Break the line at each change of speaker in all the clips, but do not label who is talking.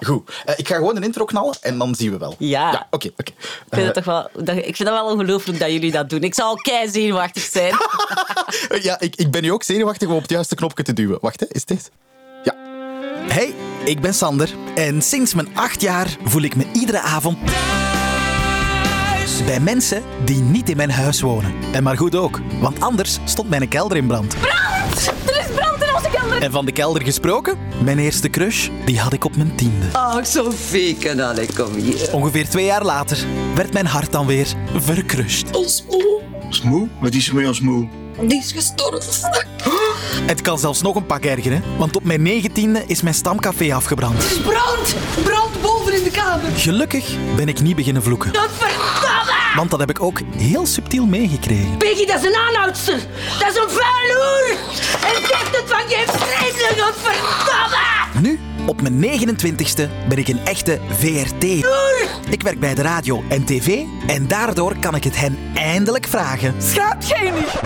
goed. Eh, ik ga gewoon een intro knallen en dan zien we wel.
Ja.
Ja, oké. oké.
Ik vind,
Eh,
dat toch wel, dat- ik vind dat wel ongelooflijk dat jullie dat doen. Ik zal kei zenuwachtig zijn.
eh, ja, ik, ik ben nu ook zenuwachtig om op het juiste knopje te duwen. Wacht, hè, is dit? Ja. Hey, ik ben Sander en sinds mijn acht jaar voel ik me iedere avond thuis bij mensen die niet in mijn huis wonen. En maar goed ook, want anders stond mijn kelder in brand.
Er is brand in onze kelder.
En van de kelder gesproken, mijn eerste crush, die had ik op mijn tiende.
Ah.
Oh,
Ach, Sophie, kan ik kom hier.
Ongeveer twee jaar later werd mijn hart dan weer verkrust.
Ons moe.
Ons moe? Wat is er met ons moe?
Die is gestorven.
Het kan zelfs nog een pak ergeren, want op mijn negentiende is mijn stamcafé afgebrand.
Brand! Brand boven in de kamer. Ah.
Gelukkig ben ik niet beginnen vloeken.
Dat verdomme!
Want dat heb ik ook heel subtiel meegekregen.
Peggy, dat is een aanhoudster. Dat is een vuiloer. En zegt het van geen vreselijk, dat verdomme!
Nu, op mijn 29ste, ben ik een echte VRT. Ik werk bij de radio en tv en daardoor kan ik het hen eindelijk vragen.
Schaapgenig.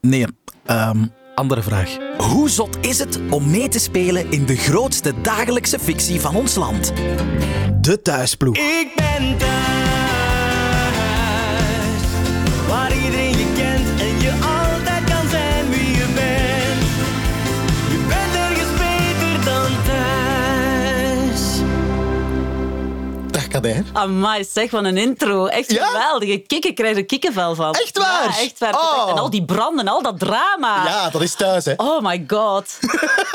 Nee, ehm, andere vraag. Hoe zot is het om mee te spelen in de grootste dagelijkse fictie van ons land? De thuisploeg.
Ik ben thuis, waar iedereen je kent en je altijd kan zijn wie je bent. Je bent ergens beter dan thuis.
Dag Kader.
Amai, zeg, wat een intro. Echt
Ja?
geweldige kikken. Ik krijg er kikkenvel van.
Echt waar?
Ja, echt waar.
Oh.
En al die branden, al dat drama.
Ja, dat is thuis, hè?
Oh my god.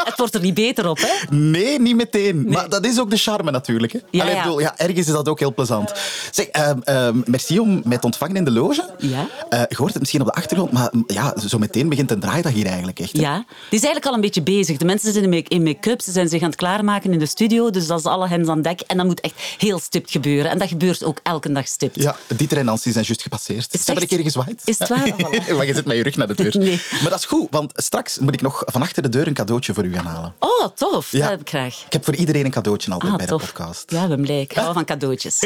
het wordt er niet beter op, hè?
Nee, niet meteen. Maar dat is ook de charme natuurlijk. Hè?
Ja,
Allee,
ja.
ik bedoel, ja, ergens is dat ook heel plezant. Zeg, ehm, ehm, merci om mij te ontvangen in de loge.
Ja.
Eh, je hoort het misschien op de achtergrond, maar mm, ja, zo meteen begint een draaidag hier eigenlijk echt. hè.
Ja, die is eigenlijk al een beetje bezig. De mensen zitten in make- in make-up, ze zijn zich aan het klaarmaken in de studio. Dus dat is alle hens aan dek. En dat moet echt heel stipt gebeuren. En dat gebeurt ook elke dag stipt.
Ja, Dieter en Nancy zijn juist gepasseerd.
het
Ze hebben een
echt?
keer gezwaaid.
Is het waar?
Ja.
Voilà.
maar je zit met je rug naar de deur.
Nee.
Maar dat is goed, want straks moet ik nog van achter de deur een cadeautje voor u gaan halen.
Oh, tof.
Ja.
Dat heb ik graag.
Ik heb voor iedereen een cadeautje altijd
Ah,
bij
tof.
de podcast.
Ja, Wim Lijk. Ik hou van cadeautjes.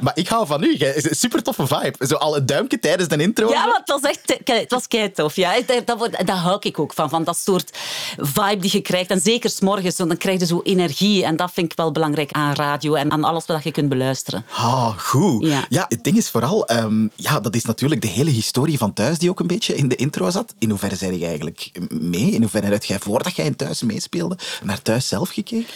maar ik hou van u. jij is een super toffe vibe. Zo al een duimpje tijdens de intro.
Ja, maar het was echt ke- het was kei tof. Ja. Daar, dat wordt- daar hou ik ook van, van dat soort vibe die je krijgt. En zeker s'morgens, want dan krijg je zo energie. En dat vind ik wel belangrijk aan radio en aan alles wat je kunt beluisteren.
Ah, goed. Ja.
Ja.
het ding is vooral, ehm, ja, dat is natuurlijk de hele historie van thuis die ook een beetje in de intro zat. In hoeverre zei jij eigenlijk mee? In hoeverre heb jij, voordat jij in thuis meespeelde, naar thuis zelf gekeken?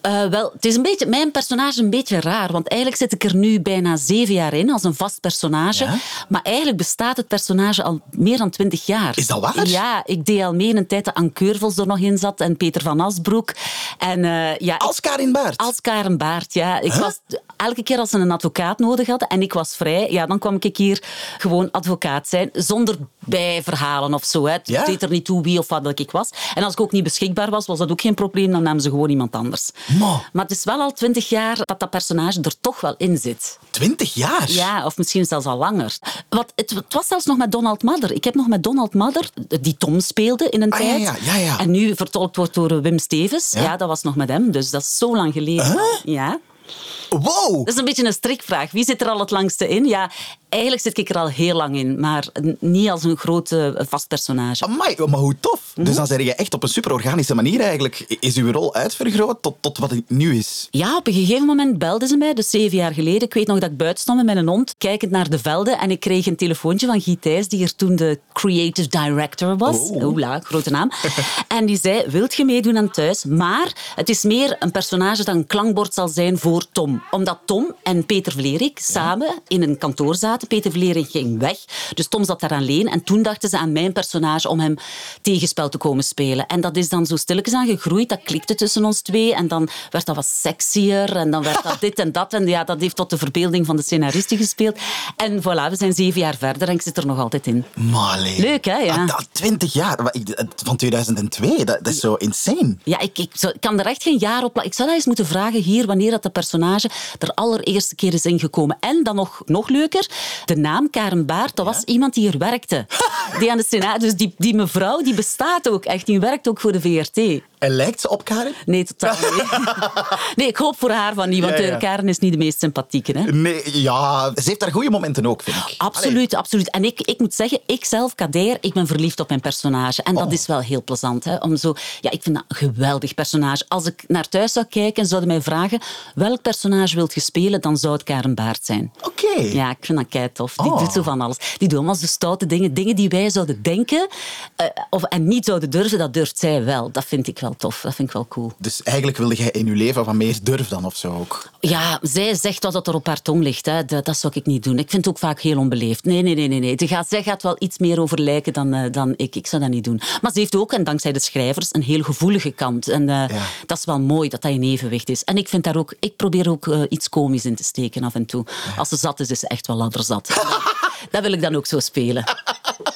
Eh, wel, het is een beetje, mijn personage een beetje raar. Want eigenlijk zit ik er nu bijna zeven jaar in als een vast personage.
Ja?
Maar eigenlijk bestaat het personage al meer dan twintig jaar.
Is dat waar?
Ja, ik deed al mee in een tijd dat Anne Keurvels er nog in zat en Peter van Asbroek. En, eh, ja, ik-
Als Karin Baert.
als Karen Baart, ja. Ik was, elke keer als ze een advocaat nodig hadden en ik was vrij, ja, dan kwam ik hier gewoon advocaat zijn. Zonder bijverhalen of zo. Hè. Het
Ja?
deed er niet toe wie of wat dat ik was. En als ik ook niet beschikbaar was, was dat ook geen probleem. Dan namen ze gewoon iemand anders.
Ma.
Maar het is wel al twintig jaar dat dat personage er toch wel in zit.
Twintig jaar?
Ja, of misschien zelfs al langer. Wat, het, het was zelfs nog met Donald Madder. Ik heb nog met Donald Madder, die Tom speelde in een
Ah, ja,
tijd.
ja, ja, ja.
En nu vertolkt wordt door eh, Wim Stevens.
Ja?
Ja, dat was nog met hem. Dus dat is zo lang geleden. Ja.
Wow!
Dat is een beetje een strikvraag. Wie zit er al het langste in? Ja, eigenlijk zit ik er al heel lang in, maar n- niet als een groot eh, vast personage.
Amai, maar hoe tof.
Mhm.
Dus dan zeg je echt op een super organische manier eigenlijk, is uw rol uitvergroot tot, tot wat het nu is.
Ja, op een gegeven moment belden ze mij, dus zeven jaar geleden. Ik weet nog dat ik buiten stond met mijn hond, kijkend naar de velden. En ik kreeg een telefoontje van Guy Thijs, die er toen de creative director was.
Oh.
Oula, grote naam. en die zei, wilt je meedoen aan thuis? Maar het is meer een personage dat een klankbord zal zijn voor Tom. Omdat Tom en Peter Vlerik samen in een kantoor zaten. Peter Vlerik ging weg, dus Tom zat daar alleen. En toen dachten ze aan mijn personage om hem tegenspel te komen spelen. En dat is dan zo stilletjes aan gegroeid. Dat klikte tussen ons twee. En dan werd dat wat sexier. En dan werd dat dit en dat. En ja, dat heeft tot de verbeelding van de scenaristen gespeeld. En voilà, we zijn zeven jaar verder en ik zit er nog altijd in.
Maar allee.
Leuk, hè, ja.
Ah, dat- Twintig jaar, maar ik- van 2002, dat, dat is zo insane.
Ja, ik, ik, zou- ik kan er echt geen jaar op plakken. Ik zou dat eens moeten vragen hier, wanneer dat de personage er allereerste keer is ingekomen. En dan nog, nog leuker, De naam Karen Baart, dat was iemand die er werkte. Die aan de Senaat, dus die, die mevrouw, die bestaat ook echt. Die werkt ook voor de VRT.
En lijkt ze op Karen?
Nee, totaal niet. Nee, ik hoop voor haar van niet, want
Ja, ja.
eh, Karen is niet de meest sympathieke. Hè?
Nee, ja. Ze heeft daar goede momenten ook, vind ik.
Absoluut, absoluut. En ik, ik moet zeggen, ik zelf, Kader, ik ben verliefd op mijn personage. En dat is wel heel plezant. Hè? Om zo, ja, ik vind dat een geweldig personage. Als ik naar thuis zou kijken en zouden mij vragen welk personage wilt je spelen, dan zou het Karen Baart zijn.
Allee, Oké.
Ja, ik vind dat kei tof. Die
Oh.
doet zo van alles. Die doet allemaal zo stoute dingen. Dingen die wij zouden denken eh, of, en niet zouden durven, dat durft zij wel. Dat vind ik wel tof. Dat vind ik wel cool.
Dus eigenlijk wilde jij in je leven wat meer durf dan of zo ook.
Ja, zij zegt wat dat er op haar tong ligt. Hè. Dat, dat zou ik niet doen. Ik vind het ook vaak heel onbeleefd. Nee, nee, nee. nee, nee. Die gaat, zij gaat wel iets meer over lijken dan, eh, dan ik. Ik zou dat niet doen. Maar ze heeft ook, en dankzij de schrijvers, een heel gevoelige kant. En eh, dat is wel mooi dat dat in evenwicht is. En ik vind daar ook... Ik probeer ook eh, iets komisch in te steken af en toe. Als ze zat is, is ze echt wel ladderzat. dat wil ik dan ook zo spelen.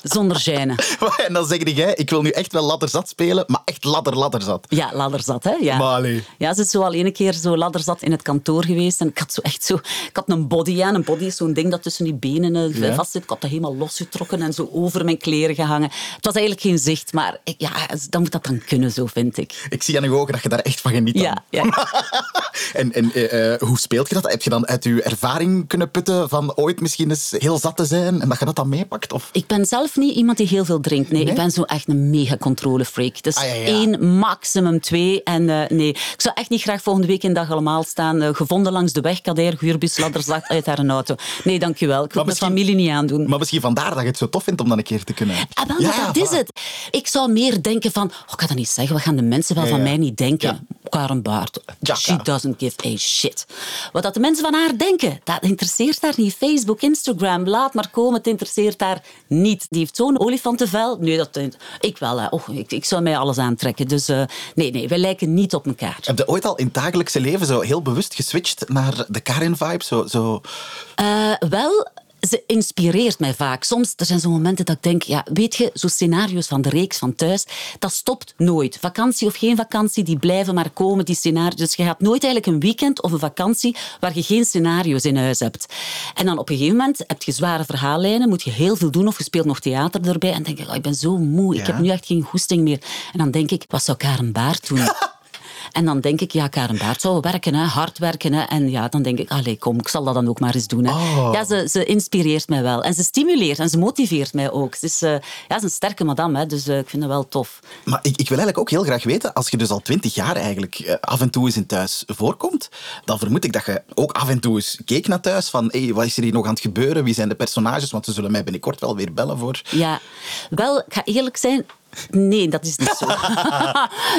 Zonder gêne.
En dan zeg jij, ik wil nu echt wel ladderzat spelen, maar echt ladder, ladderzat.
Ja, ladderzat, hè? Ja.
Maar allee.
Ja, ze is zo al ene keer zo ladderzat in het kantoor geweest. En ik had zo echt zo... Ik had een body aan. Een body is zo'n ding dat tussen die benen eh,
Ja.
vast zit. Ik had dat helemaal losgetrokken en zo over mijn kleren gehangen. Het was eigenlijk geen zicht, maar ik- ja, dan moet dat dan kunnen zo, vind ik.
Ik zie aan uw ogen dat je daar echt van geniet. dan.
Ja, ja.
En, en eh, eh, hoe speelt je dat? Heb je dan uit je ervaring kunnen putten van ooit misschien eens heel zat te zijn en dat je dat dan meepakt? Of...
Ik ben zelf niet iemand die heel veel drinkt. Nee, ik ben zo echt een mega controlefreak. Dus
Ah, ja, ja.
één, maximum twee. En eh, nee, ik zou echt niet graag volgende week in dag allemaal staan. eh, gevonden langs de weg, kader, guurbus, ladderzak uit haar auto. Nee, dankjewel. Ik wil mijn
misschien-
familie niet aandoen.
Maar misschien vandaar dat je het zo tof vindt om dan een keer te kunnen.
Ah, wel, maar dat is
voilà.
het. Ik zou meer denken van... Oh, ik ga dat niet zeggen, wat gaan de mensen wel
Ja,
van
ja.
mij niet denken?
Ja.
Karen Baart,
Ja,
she
ja.
doesn't give a shit. Wat dat de mensen van haar denken, dat interesseert haar niet. Facebook, Instagram, laat maar komen, het interesseert haar niet. Die heeft zo'n olifantenvel. Nee, dat... Ik wel, hè. Och, ik, ik zou mij alles aantrekken. Dus eh, nee, nee, wij lijken niet op elkaar.
Heb je ooit al in het dagelijkse leven zo heel bewust geswitcht naar de Karin-vibe? Zo, zo...
Eh, wel, ze inspireert mij vaak. Soms er zijn zo'n momenten dat ik denk, ja, weet je, zo'n scenario's van de reeks van thuis, dat stopt nooit. Vakantie of geen vakantie, die blijven maar komen, die scenario's. Dus je gaat nooit eigenlijk een weekend of een vakantie waar je geen scenario's in huis hebt. En dan op een gegeven moment heb je zware verhaallijnen, moet je heel veel doen of je speelt nog theater erbij en denk je, oh, ik ben zo moe, ik
Ja.
heb nu echt geen goesting meer. En dan denk ik, wat zou Karen Baart doen? En dan denk ik, ja, Karen Baert zou werken, hè, hard werken. Hè. En ja, dan denk ik, allee, kom, ik zal dat dan ook maar eens doen. Hè. Ja, ze, ze inspireert mij wel. En ze stimuleert en ze motiveert mij ook. Ze is, eh, ja, ze is een sterke madame, hè, dus eh, ik vind dat wel tof.
Maar ik, ik wil eigenlijk ook heel graag weten, als je dus al twintig jaar eigenlijk eh, af en toe eens in thuis voorkomt, dan vermoed ik dat je ook af en toe eens keek naar thuis van hé, wat is er hier nog aan het gebeuren, wie zijn de personages, want ze zullen mij binnenkort wel weer bellen voor...
Ja, wel, ik ga eerlijk zijn. Nee, dat is niet zo.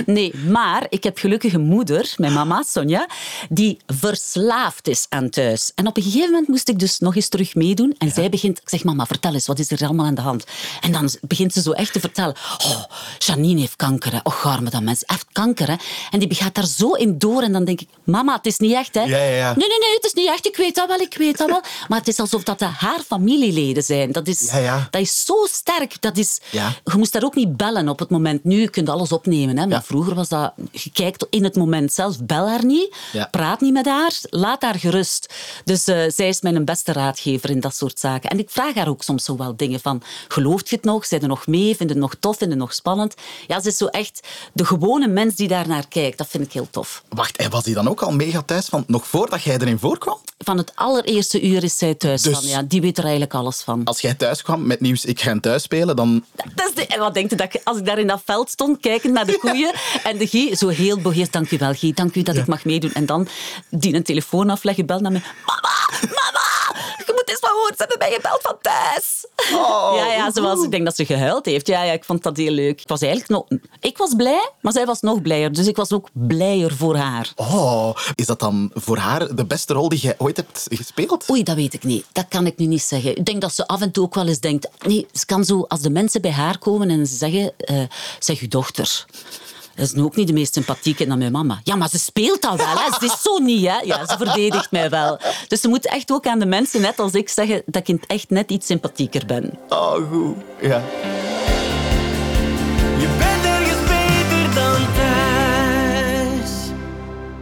nee, maar ik heb gelukkig een moeder, mijn mama Sonja, die verslaafd is aan thuis. En op een gegeven moment moest ik dus nog eens terug meedoen. En zij begint, ik zeg, mama, vertel eens, wat is er allemaal aan de hand? En dan begint ze zo echt te vertellen. Oh, Janine heeft kanker, hè. Och, arme dat mens, heeft kanker, hè. En die gaat daar zo in door. En dan denk ik, mama, het is niet echt, hè.
Ja, ja, ja.
Nee, nee, nee, het is niet echt. Ik weet dat wel, ik weet dat wel. Maar het is alsof dat de haar familieleden zijn. Dat is,
Ja, ja.
dat is zo sterk. Dat is,
Ja.
Je moest daar ook niet bellen op het moment. Nu kun je alles opnemen. Hè? Maar
Ja.
vroeger was dat... Je kijkt in het moment zelf. Bel haar niet.
Ja.
Praat niet met haar. Laat haar gerust. Dus eh, zij is mijn beste raadgever in dat soort zaken. En ik vraag haar ook soms zo wel dingen van... Gelooft je het nog? Zijn er nog mee? Vind je het nog tof? Vind je het nog spannend? Ja, ze is zo echt de gewone mens die daar naar kijkt. Dat vind ik heel tof.
Wacht, en was die dan ook al mega thuis van nog voordat jij erin voorkwam?
Van het allereerste uur is zij thuis
Dus-
van. Ja, die weet er eigenlijk alles van.
Als jij thuis kwam met nieuws, ik ga in thuis spelen, dan...
Dat is de- en wat denk je, dat ik, als ik daar in dat veld stond, kijkend naar de koeien, en de Guy zo heel beheerst, dank u wel Guy, dank u dat ik mag meedoen. En dan die een telefoon afleggen, belt naar mij, mama, mama, je moet eens van horen, ze hebben mij gebeld van thuis.
oh.
ja, ja, zoals ik denk dat ze gehuild heeft. Ja, ja, ik vond dat heel leuk. Ik was eigenlijk nog, ik was blij, maar zij was nog blijer, dus ik was ook blijer voor haar.
Oh, is dat dan voor haar de beste rol die jij ooit hebt gespeeld?
Oei, dat weet ik niet. Dat kan ik nu niet zeggen. Ik denk dat ze af en toe ook wel eens denkt... Nee, ze kan zo... Als de mensen bij haar komen en ze zeggen... eh, zeg, uw dochter... Dat is nu ook niet de meest sympathieke dan mijn mama. Ja, maar ze speelt dat wel. Hè. Ze is zo niet, hè. Ja, ze verdedigt mij wel. Dus ze moet echt ook aan de mensen, net als ik, zeggen dat ik in het echt net iets sympathieker ben.
Oh, goed. Ja.
Je bent ergens beter dan thuis.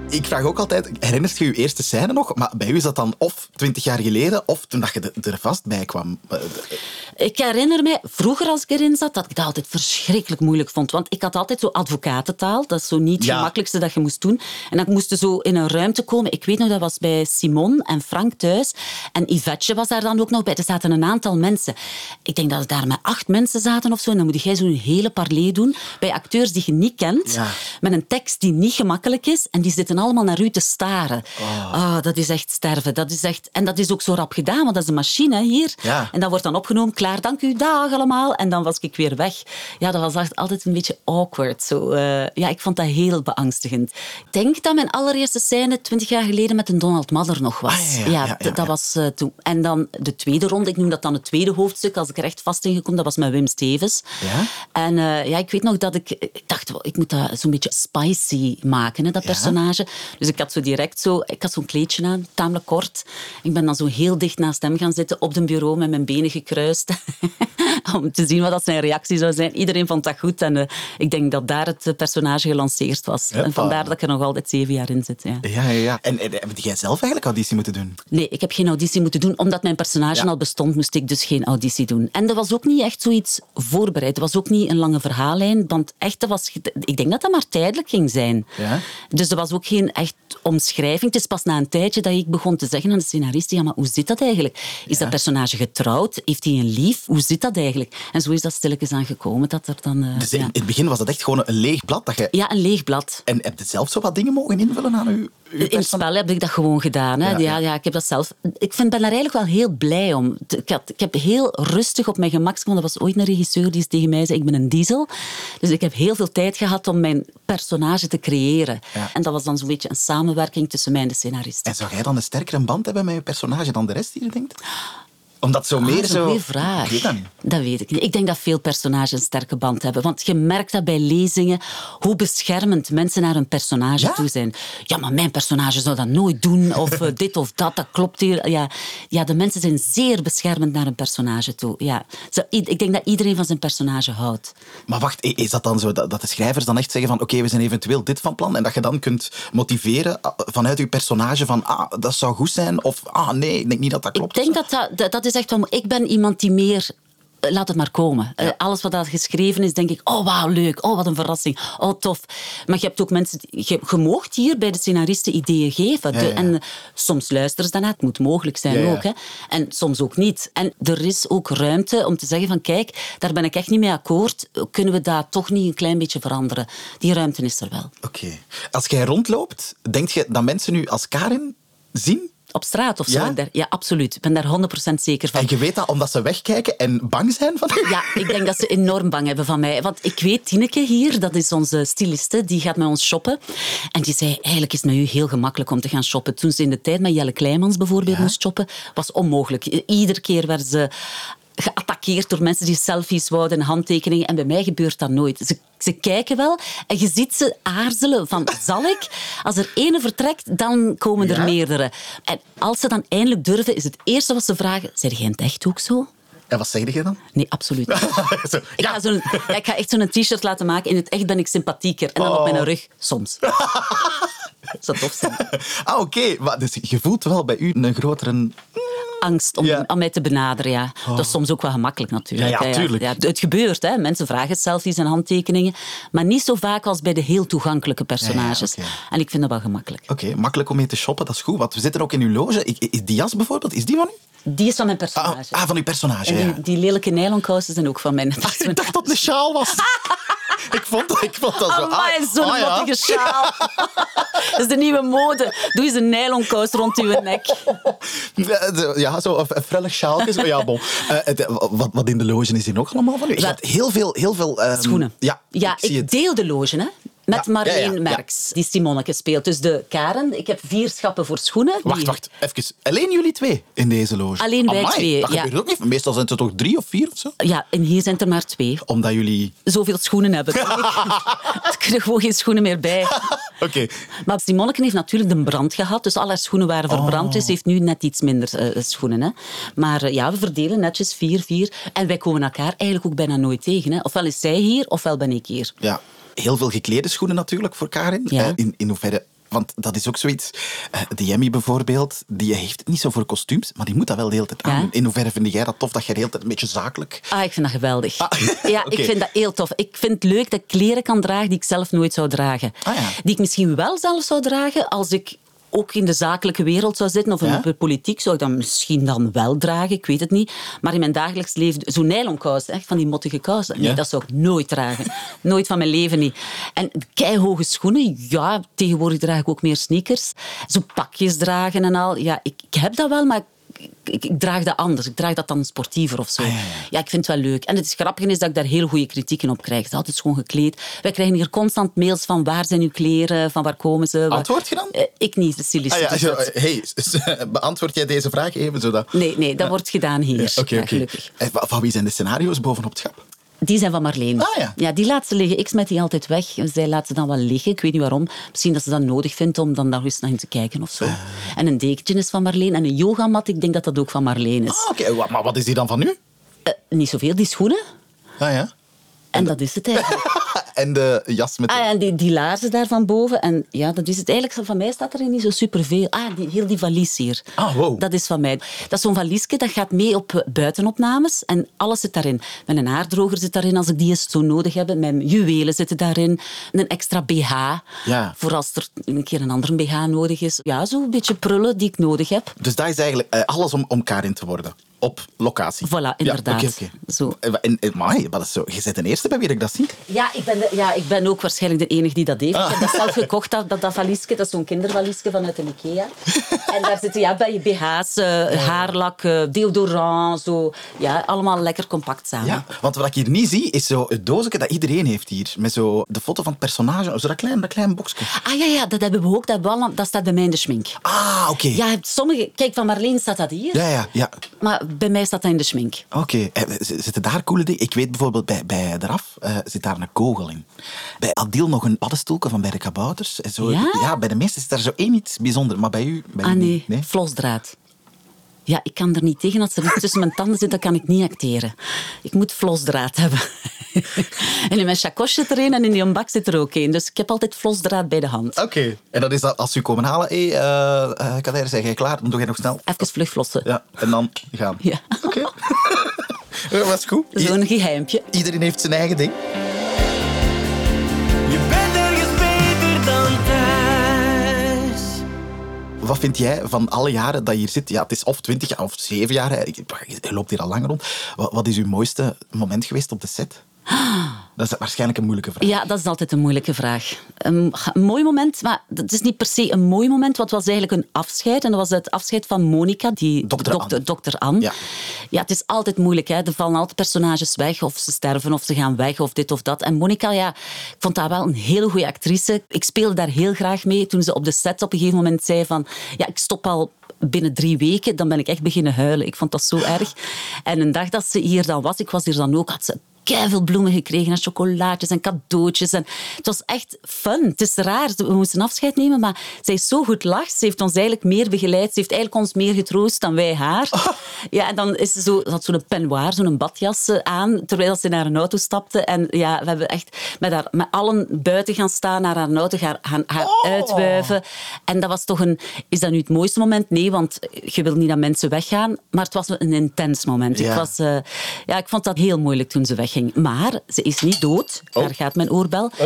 ik vraag ook altijd, herinnert je je eerste scène nog? Maar bij u is dat dan of twintig jaar geleden, of toen dat je de- er vast bij kwam. Eh, de-
Ik herinner mij, vroeger als ik erin zat, dat ik dat altijd verschrikkelijk moeilijk vond. Want ik had altijd zo advocatentaal. Dat is zo niet het
Ja.
gemakkelijkste dat je moest doen. En ik moest zo in een ruimte komen. Ik weet nog, dat was bij Simon en Frank thuis. En Yvetje was daar dan ook nog bij. Er zaten een aantal mensen. Ik denk dat er daar met acht mensen zaten of zo. En dan moet jij zo'n hele parley doen bij acteurs die je niet kent.
Ja.
Met een tekst die niet gemakkelijk is. En die zitten allemaal naar u te staren. Ah, dat is echt sterven. Dat is echt... En dat is ook zo rap gedaan, want dat is een machine hè, hier.
Ja.
En dat wordt dan opgenomen, klaar, dank u, dag allemaal. En dan was ik weer weg. Ja, dat was echt altijd een beetje awkward. Zo, eh, ja, ik vond dat heel beangstigend. Ik denk dat mijn allereerste scène twintig jaar geleden met een Donald Madder nog was.
Ah, ja, ja,
d-
ja, ja,
dat
ja.
was eh, toen. En dan de tweede ronde, ik noem dat dan het tweede hoofdstuk, als ik er echt vast in gekom, dat was met Wim Stevens.
Ja?
En eh, ja, ik weet nog dat ik, ik dacht, wel, ik moet dat zo'n beetje spicy maken, hè, dat personage. Dus ik had zo direct zo, ik had zo'n kleedje aan, tamelijk kort. Ik ben dan zo heel dicht naast hem gaan zitten op een bureau met mijn benen gekruist. om te zien wat dat zijn reactie zou zijn. Iedereen vond dat goed en eh, ik denk dat daar het eh, personage gelanceerd was.
Hoppa.
En vandaar dat ik er nog altijd zeven jaar in zit. Ja.
Ja, ja, ja. En, en heb jij zelf eigenlijk auditie moeten doen?
Nee, ik heb geen auditie moeten doen. Omdat mijn personage
Ja.
al bestond, moest ik dus geen auditie doen. En er was ook niet echt zoiets voorbereid. Er was ook niet een lange verhaallijn. Want echt, dat was, ik denk dat dat maar tijdelijk ging zijn.
Ja.
Dus er was ook geen echt omschrijving. Het is pas na een tijdje dat ik begon te zeggen aan de scenarist... Ja, maar hoe zit dat eigenlijk? Is dat personage getrouwd? Heeft hij een lief? Hoe zit dat eigenlijk? En zo is dat stilletjes aan gekomen dat er dan... eh,
Dus in,
ja.
in het begin was dat echt gewoon een leeg blad. Dat je,
ja, een leeg blad.
En heb je zelf zo wat dingen mogen invullen aan uw, uw
In het
perso-
spel heb ik dat gewoon gedaan. Hè.
Ja,
Ja,
ja.
ja. ik heb dat zelf. Ik vind, ben daar eigenlijk wel heel blij om. T- Ik, had, ik heb heel rustig op mijn gemak. Want er was ooit een regisseur die eens tegen mij zei: Ik ben een diesel. Dus ik heb heel veel tijd gehad om mijn personage te creëren.
Ja.
En dat was dan zo'n beetje een samenwerking tussen mij en de scenarist.
En zou jij dan een sterkere band hebben met je personage dan de rest die je denkt? Omdat zo
Ah,
meer
dat is een
zo...
goeie vraag.
Ik weet dat niet.
Dat weet ik niet. Ik denk dat veel personages een sterke band hebben. Want je merkt dat bij lezingen, hoe beschermend mensen naar hun personage
Ja?
toe zijn. Ja, maar mijn personage zou dat nooit doen. Of eh, dit of dat, dat klopt hier. Ja, ja, de mensen zijn zeer beschermend naar hun personage toe. Ja. Zo, i- ik denk dat iedereen van zijn personage houdt.
Maar wacht, i- is dat dan zo dat, dat de schrijvers dan echt zeggen van oké, we zijn eventueel dit van plan en dat je dan kunt motiveren ah, vanuit je personage van ah, dat zou goed zijn of ah nee, ik denk niet dat dat klopt.
Ik denk
of
dat dat, dat, dat is echt wel... Ik ben iemand die meer... eh, Laat het maar komen. Eh, alles wat daar geschreven is, denk ik, oh wauw, leuk, oh wat een verrassing, oh tof. Maar je hebt ook mensen, die- je, je moogt hier bij de scenaristen ideeën geven.
Ja,
De-
ja, ja.
En soms luisteren ze daarna, het moet mogelijk zijn
Ja, ja.
ook. Hè? En soms ook niet. En er is ook ruimte om te zeggen van, kijk, daar ben ik echt niet mee akkoord, kunnen we dat toch niet een klein beetje veranderen? Die ruimte is er wel.
zo. Oké. Als jij rondloopt, denk je dat mensen nu als Karin zien?
Op straat of zo?
Ja?
en daar- ja absoluut. Ik ben daar 100% zeker van.
En je weet dat omdat ze wegkijken en bang zijn van u?
Ja, ik denk dat ze enorm bang hebben van mij. Want ik weet, Tineke hier, dat is onze styliste, die gaat met ons shoppen. En die zei, eigenlijk is het met u heel gemakkelijk om te gaan shoppen. Toen ze in de tijd met Jelle Kleimans bijvoorbeeld moest shoppen, was onmogelijk. I- Iedere keer werden ze geattackeerd door mensen die selfies wouden en handtekeningen. En bij mij gebeurt dat nooit. Ze, ze kijken wel en je ziet ze aarzelen van, zal ik? Als er ene vertrekt, dan komen er
Ja.
meerdere. En als ze dan eindelijk durven, is het eerste wat ze vragen, zijn jij in het echt ook zo?
En wat zeg je dan?
Nee, absoluut niet.
Zo,
Ik,
ja.
ga zo'n, ja, ik ga echt zo'n t-shirt laten maken. In het echt ben ik sympathieker. En dan op
Oh.
mijn rug, soms. Zou tof zijn.
Ah, oké. Maar Dus je voelt wel bij u een grotere...
Angst om,
Ja. Oh.
om mij te benaderen, ja. Dat is soms ook wel gemakkelijk natuurlijk.
Ja, ja,
hè,
tuurlijk.
het gebeurt, hè. Mensen vragen selfies en handtekeningen. Maar niet zo vaak als bij de heel toegankelijke personages.
oké.
En ik vind dat wel gemakkelijk.
Oké, makkelijk om mee te shoppen, dat is goed. Want we zitten ook in uw loge. Ik- Is die jas bijvoorbeeld, is die van u?
Die is van mijn
Ah,
personage.
ah, van uw personage,
en
ja.
die, die lelijke nylonkousen zijn ook van mijn
Ik dacht dat het een sjaal was. ik, vond dat, ik vond dat zo...
Amai,
ah,
zo'n
ah, ja.
mottige sjaal. dat is de nieuwe mode. Doe eens een nylonkous rond uw nek.
Ja, de- Ja, zo een een frellig sjaaltje. zo. Ja, bon. Eh, het, eh, wat, wat in de loge is hier nog allemaal van u? Je
Wel-
hebt heel veel... Heel veel ehm,
Schoenen.
Ja,
ja
ik
ik,
zie het.
deel de loge, hè. Met
Ja,
Marleen
ja, ja, ja.
Merks, die Simonneke speelt. Dus de Karen, ik heb vier schappen voor schoenen.
Wacht,
Die-
wacht. Even. Alleen jullie twee in deze loge?
Alleen wij
Amai,
twee,
Dat
ja.
gebeurt ook niet. Meestal zijn het er toch drie of vier of zo?
Ja, en hier zijn er maar twee.
Omdat jullie...
Zoveel schoenen hebben. er kunnen gewoon geen schoenen meer bij.
Oké.
Maar Simonneke heeft natuurlijk de brand gehad, dus al haar schoenen waren verbrand,
Oh.
dus ze heeft nu net iets minder eh, schoenen. Hè. Maar eh, ja, we verdelen netjes vier, vier. En wij komen elkaar eigenlijk ook bijna nooit tegen. Hè. Ofwel is zij hier, ofwel ben ik hier.
Ja, heel veel geklede schoenen natuurlijk voor Karin.
Ja.
Eh, in, in hoeverre Want dat is ook zoiets. eh, die Emmy bijvoorbeeld, die heeft het niet zo voor kostuums, maar die moet dat wel de hele tijd
Ja.
aan. In hoeverre vind jij dat tof dat jij de hele tijd een beetje zakelijk.
Ah, ik vind dat geweldig.
Ah,
ja,
oké.
ik vind dat heel tof. Ik vind het leuk dat ik kleren kan dragen die ik zelf nooit zou dragen.
Ah, ja.
Die ik misschien wel zelf zou dragen als ik ook in de zakelijke wereld zou zitten of in
Ja?
de politiek zou ik dat misschien dan wel dragen, ik weet het niet. Maar in mijn dagelijks leven, zo'n nylonkousen, echt van die mottige kousen, nee,
Ja?
dat zou ik nooit dragen. nooit van mijn leven niet. En keihoge schoenen, ja, tegenwoordig draag ik ook meer sneakers. Zo pakjes dragen en al, ja, ik, ik heb dat wel, maar ik, ik, ik draag dat anders. Ik draag dat dan sportiever of zo.
Ah,
ja, ik vind het wel leuk. En het grappige is dat ik daar heel goede kritieken op krijg. Het is altijd schoon gekleed. Wij krijgen hier constant mails van waar zijn uw kleren, van waar komen ze. waar-
Antwoord je dan?
Eh, ik niet, de stylist.
Ah ja,
doet
zo,
dat.
eh, hey, s- s- beantwoord jij deze vraag even zodat.
Nee, nee, dat wordt gedaan hier.
Ja, Oké,
Ja,
oké.
gelukkig.
En Eh, wa- Van wie zijn de scenario's bovenop het schap?
Die zijn van Marleen.
Ah, ja.
die laat ze liggen. Ik smet die altijd weg. En Zij laat ze dan wel liggen. Ik weet niet waarom. Misschien dat ze dat nodig vindt om dan daar eens naar in te kijken of zo.
Eh.
En een dekentje is van Marleen. En een yogamat, ik denk dat dat ook van Marleen is.
Ah, oké. wa- Maar wat is die dan van nu?
Eh, niet zoveel, die schoenen.
Ah ja.
En dat is het eigenlijk.
en de jas met. de-
Ah, ja, en die, die laarzen daar van boven. En ja, dat is het. Eigenlijk van mij staat er niet zo superveel. Ah, die, heel die valies hier.
Ah, wow.
Dat is van mij. Dat is zo'n valiesje, dat gaat mee op eh, buitenopnames. En alles zit daarin. Mijn haardroger zit daarin als ik die eens zo nodig heb. Mijn juwelen zitten daarin. En een extra BH.
Ja.
Voor als er een keer een andere BH nodig is. Ja, zo'n beetje prullen die ik nodig heb.
Dus daar is eigenlijk eh, alles om, om Karin te worden. Op locatie.
Voilà, inderdaad.
Ja, oké, oké. Eh,
Zo.
En, en, en- maar hey, wat is zo? Je bent de eerste bij wie ik dat zie.
Ja ik, ben de- ja, ik ben ook waarschijnlijk de enige die dat heeft.
Ah.
Ik heb dat zelf gekocht, dat, dat, dat valiesje. Dat is zo'n kindervaliesje vanuit de Ikea. en daar zitten ja, bij je BH's, eh, haarlak, eh, deodorant, zo. Ja, allemaal lekker compact samen.
Ja, want wat ik hier niet zie, is zo het doosje dat iedereen heeft hier. Met zo de foto van het personage, zo dat klein, dat klein boxje.
Ah ja, ja, dat hebben we ook. Dat, hebben we allemaal- dat staat bij mij in de schmink.
Ah, oké.
Ja, sommige... Kijk, van Marleen staat dat hier.
Ja, ja, ja.
Maar bij mij staat dat in de schmink.
Oké. Eh, z- Zitten daar coole dingen? Ik weet bijvoorbeeld bij, bij de RAF eh, zit daar een kogel in. Bij Adil nog een paddenstoelke van bij de kabouters. En zo,
Ja?
bij de meesten is daar zo één iets bijzonders. Maar bij u? Bij u
Ah nee,
niet, nee?
flosdraad. Ja, ik kan er niet tegen. Als er iets tussen mijn tanden zit, dan kan ik niet acteren. Ik moet flosdraad hebben. en in mijn chakos zit er een en in die ombak zit er ook een. Dus ik heb altijd flosdraad bij de hand.
Oké. En dat is dat als u komen halen. Hé, hey, eh, eh, Kader, zijn jij klaar? Dan doe jij nog snel.
Even vlug flossen.
Ja, en dan gaan.
Ja.
Oké. dat was goed. I-
Zo'n geheimpje.
Iedereen heeft zijn eigen ding.
Je bent ergens beter dan thuis.
Wat vind jij van alle jaren dat je hier zit? Ja, het is of twintig jaar of zeven jaar. hè. Ik- Je loopt hier al lang rond. Wat, wat is uw mooiste moment geweest op de set? Dat is waarschijnlijk een moeilijke vraag.
Ja, dat is altijd een moeilijke vraag. Een, een mooi moment, maar het is niet per se een mooi moment, want het was eigenlijk een afscheid. En dat was het afscheid van Monica, die
Dokter Anne.
dokter Anne.
Ja.
Ja. het is altijd moeilijk. Hè. Er vallen altijd personages weg, of ze sterven, of ze gaan weg, of dit of dat. En Monica, ja, ik vond haar wel een hele goede actrice. Ik speelde daar heel graag mee. Toen ze op de set op een gegeven moment zei van... Ja, ik stop al binnen drie weken, dan ben ik echt beginnen huilen. Ik vond dat zo erg. En een dag dat ze hier dan was, ik was hier dan ook, had ze veel bloemen gekregen en chocolaatjes en cadeautjes. En het was echt fun. Het is raar, we moesten afscheid nemen, maar zij is zo goed lacht. Ze heeft ons eigenlijk meer begeleid. Ze heeft eigenlijk ons meer getroost dan wij haar. Ja, en dan is ze zo, ze had zo'n penwaar, zo'n badjas eh, aan, terwijl ze naar een auto stapte. En ja, we hebben echt met, haar, met allen buiten gaan staan, naar haar auto gaan, gaan haar uitwuiven. En dat was toch een... Is dat nu het mooiste moment? Nee, want je wil niet dat mensen weggaan. Maar het was een intens moment.
Ja.
Ik was eh, ja, ik vond dat heel moeilijk toen ze wegging. Maar ze is niet dood. Daar gaat mijn oorbel.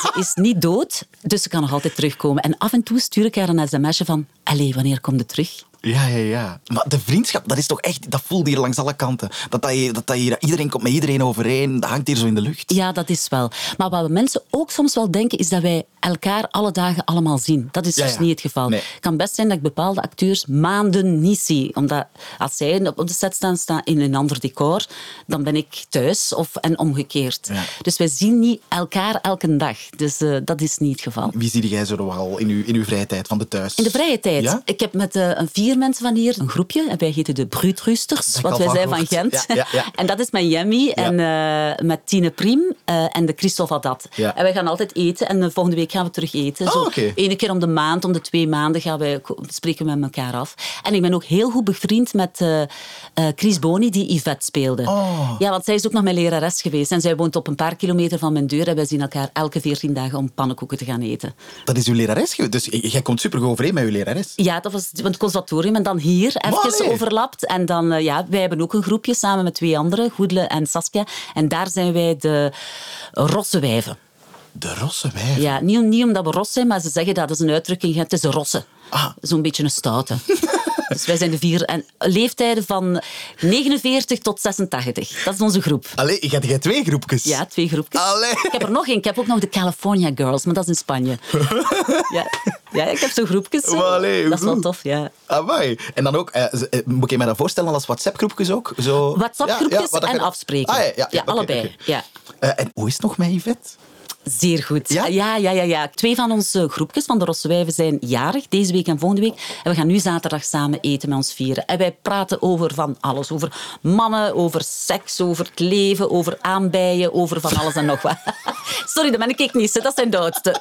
Ze is niet dood, dus ze kan nog altijd terugkomen. En af en toe stuur ik haar een sms'je van... Allee, wanneer komt ze terug?
Ja, ja, ja. Maar de vriendschap, dat is toch echt... Dat voelt hier langs alle kanten. Dat, dat, je- dat, dat hier, iedereen komt met iedereen overeen. Dat hangt hier zo in de lucht.
Ja, dat is wel. Maar wat we mensen ook soms wel denken, is dat wij elkaar alle dagen allemaal zien. Dat is
Ja,
dus
ja.
niet het geval.
Nee.
Het kan best zijn dat ik bepaalde acteurs maanden niet zie. Omdat als zij op de set staan, staan in een ander decor, dan ben ik thuis of, en omgekeerd.
Ja.
Dus wij zien niet elkaar elke dag. Dus eh, dat is niet het geval.
Wie zie jij zo al in uw, in uw vrije tijd van de thuis?
In de vrije tijd.
Ja?
Ik heb met eh, een vier mensen van hier, een groepje. En wij heten de Bruutrusters,
ik
wat
al
wij
van
zijn van
gehoord.
Gent.
Ja, ja, ja.
En dat is met Jemmy en eh, met Tine Priem eh, en de Christophe Adat.
Ja.
En wij gaan altijd eten en eh, volgende week gaan we terug eten.
Ah,
Zo
oké.
Ene keer om de maand, om de twee maanden gaan wij, ko- spreken we met elkaar af. En ik ben ook heel goed bevriend met eh, eh, Chris Boni, die Yvette speelde.
Oh.
Ja, want zij is ook nog mijn lerares geweest. En zij woont op een paar kilometer van mijn deur. En wij zien elkaar elke veertien dagen om pannenkoeken te gaan eten.
Dat is uw lerares geweest. Dus j- jij komt super overeen met uw lerares.
Ja, dat was het conservatorium en dan hier even
nee.
overlapt. En dan, eh, ja, wij hebben ook een groepje samen met twee anderen, Goedele en Saskia. En daar zijn wij de rosse wijven.
De rosse wijf.
Ja, niet, om- niet omdat we ros zijn, maar ze zeggen dat, dat is een uitdrukking. Het is een rosse.
Ah.
Zo'n beetje een stoute. dus wij zijn de vier. En leeftijden van 49 tot 86. Dat is onze groep.
Allee, je hebt- je hebt twee groepjes.
Ja, twee groepjes.
Allee.
Ik heb er nog één. Ik heb ook nog de California Girls, maar dat is in Spanje. ja. ja, ik heb zo'n groepjes. zo.
Maar allee, hoe
dat is wel
goed.
tof, ja.
Amai. En dan ook, eh, z- eh, moet ik mij dat voorstellen als WhatsApp-groepjes ook? Zo...
WhatsApp-groepjes
Ja, ja, wat dat
en
je-
afspreken.
Ah, ja, ja, ja, oké,
allebei.
oké.
Ja.
Eh, en hoe is het nog met Yvette?
Zeer goed.
Ja?
Ja? Ja, ja, ja, Twee van onze groepjes van de Rossewijven zijn jarig, deze week en volgende week. En we gaan nu zaterdag samen eten met ons vieren. En wij praten over van alles. Over mannen, over seks, over het leven, over aanbijen, over van alles en nog wat. Sorry, dat ben ik niet. hè. Dat zijn de oudste.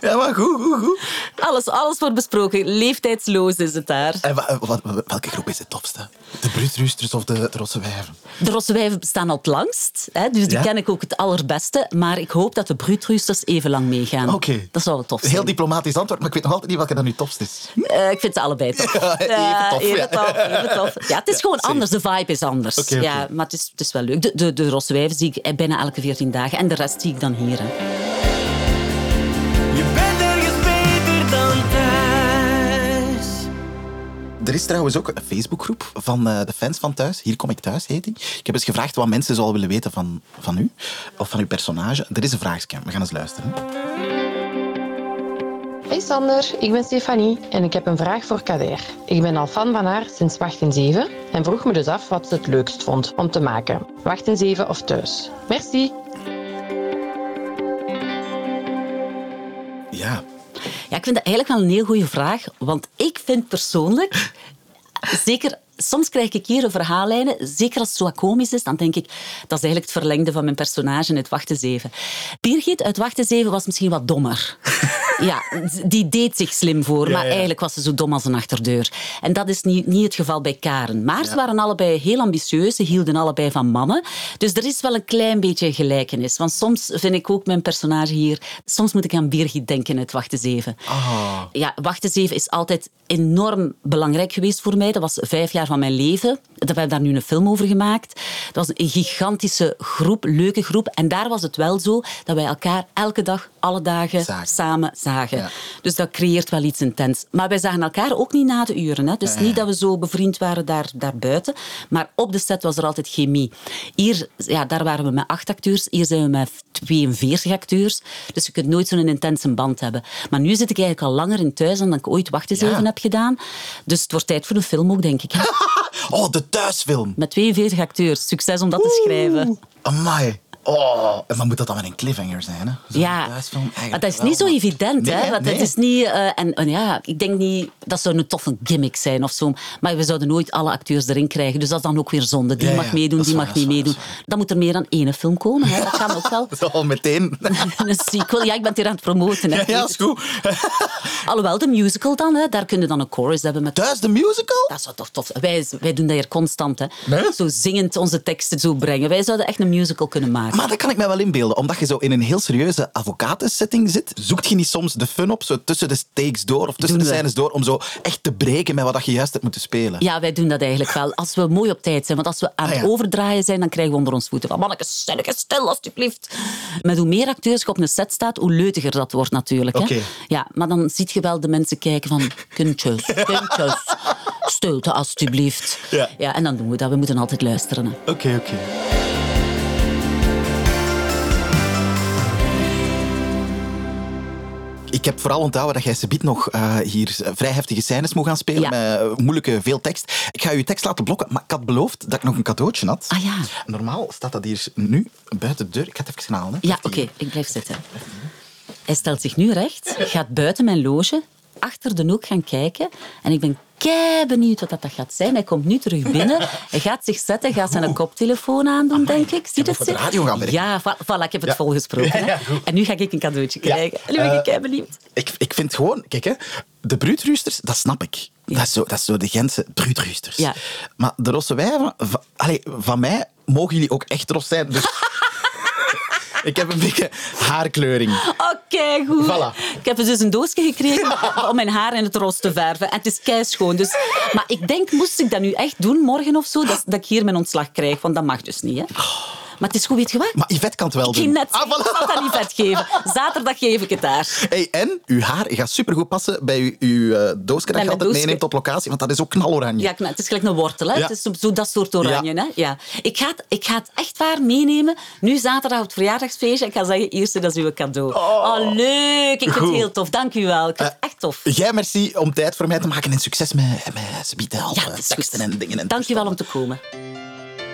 Ja, maar goed, goed, goed.
Alles, alles wordt besproken. Leeftijdsloos is het daar.
En wa- eh, wat- wat- welke groep is het topste? De Brutrusters of de, de Rosse Wijven?
De Rossewijven bestaan al het langst, hè, dus die
Ja?
ken ik ook het allerbeste. Maar ik hoop dat de Bruutruisters even lang meegaan.
Oké.
Dat zou wel tof zijn.
Heel diplomatisch antwoord, maar ik weet nog altijd niet welke dan nu topst is.
Eh, ik vind ze allebei tof.
Ja, even
Ja,
tof, ja.
Even tof, even tof. Ja, het is gewoon
zeker.
anders. De vibe is anders.
Oké, oké.
Ja, maar het is, het is wel leuk. De, de, de Roswijven zie ik eh, bijna elke 14 dagen. En de rest zie ik dan hier. Hè.
Je bent ergens beter dan thuis.
Er is trouwens ook een Facebookgroep van eh, de fans van Thuis. Hier kom ik thuis, heet die. Ik heb eens gevraagd wat mensen zouden willen weten van, van u. Of van uw personage. Er is een vraagscam. We gaan eens luisteren.
Hey Sander, ik ben Stefanie en ik heb een vraag voor Kader. Ik ben al fan van haar sinds Wacht en Zeven en vroeg me dus af wat ze het leukst vond om te maken. Wacht en Zeven of thuis. Merci!
Ja.
Ja, ik vind dat eigenlijk wel een heel goede vraag. Want ik vind persoonlijk... Zeker, soms krijg ik hier een verhaallijnen. Zeker als het zo komisch is, dan denk ik... Dat is eigenlijk het verlengde van mijn personage uit Wachten Zeven. Birgit uit Wachten Zeven was misschien wat dommer. Ja, die deed zich slim voor, maar
ja.
eigenlijk was ze zo dom als een achterdeur. En dat is niet, niet het geval bij Karen. Maar ze waren allebei heel ambitieus, ze hielden allebei van mannen. Dus er is wel een klein beetje gelijkenis. Want soms vind ik ook mijn personage hier... Soms moet ik aan Birgit denken uit Wachten Zeven.
Ah,
Ja, Wachten Zeven is altijd enorm belangrijk geweest voor mij. Dat was vijf jaar van mijn leven. We hebben daar nu een film over gemaakt. Dat was een gigantische groep, leuke groep. En daar was het wel zo dat wij elkaar elke dag, alle dagen
Zagen.
samen zagen.
Ja.
Dus dat creëert wel iets intens. Maar wij zagen elkaar ook niet na de uren. Hè? Dus niet dat we zo bevriend waren daar, daarbuiten. Maar op de set was er altijd chemie. Hier, ja, daar waren we met acht acteurs. Hier zijn we met 42 acteurs. Dus je kunt nooit zo'n intense band hebben. Maar nu zit ik eigenlijk al langer in thuis dan dat ik ooit wacht eens
Ja.
even heb gedaan. Dus het wordt tijd voor een film ook, denk ik.
Oh, de Thuisfilm.
Met 42 acteurs. Succes om dat te schrijven.
Amai. Oh, maar moet dat dan met een cliffhanger zijn? Hè? Zo'n
Ja,
thuisfilm? Eigenlijk
maar dat is
wel,
niet zo
maar-
evident.
Nee,
hè? Want
nee.
Het is niet, eh, en, en ja, ik denk niet dat zou een toffe gimmick zijn of zo. Maar we zouden nooit alle acteurs erin krijgen. Dus dat is dan ook weer zonde. Die
Ja, ja,
mag meedoen,
dat is
die
waar,
mag
dat
niet
is waar,
meedoen.
dat is
Dan moet er meer dan één film komen. Hè? Dat gaan we ook wel.
Dat is al meteen.
een sequel. Ja, ik ben het hier aan het promoten. Hè.
Ja, ja, is goed.
Alhoewel, de musical dan. Hè? Daar kunnen we dan een chorus hebben met
Thuis de musical?
dat zou toch tof zijn. Wij, wij doen dat hier constant. Hè.
Nee?
Zo zingend onze teksten zo brengen. Wij zouden echt een musical kunnen maken.
Maar dat kan ik mij wel inbeelden. Omdat je zo in een heel serieuze advocatensetting zit, zoekt je niet soms de fun op, zo tussen de stakes door of tussen
Doen
de
we.
scènes door, om zo echt te breken met wat je juist hebt moeten spelen.
Ja, wij doen dat eigenlijk wel. Als we mooi op tijd zijn. Want als we aan
Ah,
het
ja.
overdraaien zijn, dan krijgen we onder ons voeten van... Manneke, stellige, stil, alstublieft. Met hoe meer acteurs je op een set staat, hoe leutiger dat wordt natuurlijk. Hè?
Oké.
Ja, maar dan zie je wel de mensen kijken van... Kuntjes, kuntjes, stilte alstublieft.
Ja.
en dan doen we dat. We moeten altijd luisteren. hè.
Oké, oké. Ik heb vooral onthouden dat jij Sebiet nog eh, hier vrij heftige scènes moet gaan spelen.
Ja.
Met eh, moeilijke, veel tekst. Ik ga je tekst laten blokken, maar ik had beloofd dat ik nog een cadeautje had.
Ah, ja.
Normaal staat dat hier nu buiten de deur. Ik ga het even gaan halen. Hè.
Ja,
Heeft
oké,
die-
ik blijf zitten. Hij stelt zich nu recht, gaat buiten mijn loge achter de hoek gaan kijken. En ik ben kei benieuwd wat dat dat gaat zijn. Hij komt nu terug binnen. Hij gaat zich zetten, gaat zijn koptelefoon aandoen, denk ik. Ziet het
voor de
zin?
radio gaan werken.
Ja, va- voilà, ik heb het
Ja. Ja,
volgesproken. hè.
ja, goed.
en nu ga ik een cadeautje
Ja.
krijgen. En nu ben ik
Eh,
kei benieuwd.
Ik, ik vind gewoon, kijk hè, de bruutruisters, dat snap ik. Dat, is zo, dat is zo de Gentse bruutruisters.
Ja.
Maar de rosse wijven, van, allee, van mij mogen jullie ook echt ros zijn. Dus ik heb een beetje haarkleuring.
Oké, goed.
Voilà.
Ik heb dus een doosje gekregen om mijn haar in het roos te verven. En het is kei schoon. Dus... Maar ik denk, moest ik dat nu echt doen morgen of zo, dat, dat ik hier mijn ontslag krijg. Want dat mag dus niet. Hè? Maar het is goed, weet je wat?
Maar Yvette kan het wel
Ik ging
doen.
net
Ah,
zeggen,
voilà.
ik zal dat niet vet geven. Zaterdag geef ik het daar.
Hey, en uw haar gaat supergoed passen bij uw, uw eh, doosje dat
mijn
je altijd
doosje.
meeneemt op locatie, want dat is ook knaloranje.
Ja, knap. het is gelijk een wortel. Hè?
Ja.
Het is zo- zo dat soort oranje.
Ja.
Hè? Ja. Ik, ga het, ik ga het echt waar meenemen. Nu zaterdag op het verjaardagsfeestje. Ik ga zeggen, eerste, dat is uw cadeau. Oh, leuk. Ik vind het
Goed.
heel tof. Dank u wel. Ik vind het
Eh,
echt tof.
Jij merci om tijd voor mij te maken en succes met, met ze bieden al
Ja,
eh,
het is
teksten
goed.
en dingen. En
Dank je wel om te komen.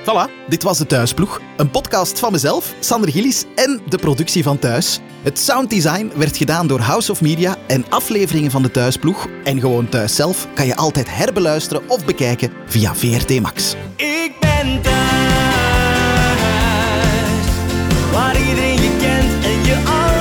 Voilà, dit was de Thuisploeg. Een podcast van mezelf, Sander Gillis en de productie van Thuis. Het sounddesign werd gedaan door House of Media en afleveringen van de Thuisploeg en gewoon Thuis zelf kan je altijd herbeluisteren of bekijken via VRT Max.
Ik ben thuis, waar iedereen je kent en je al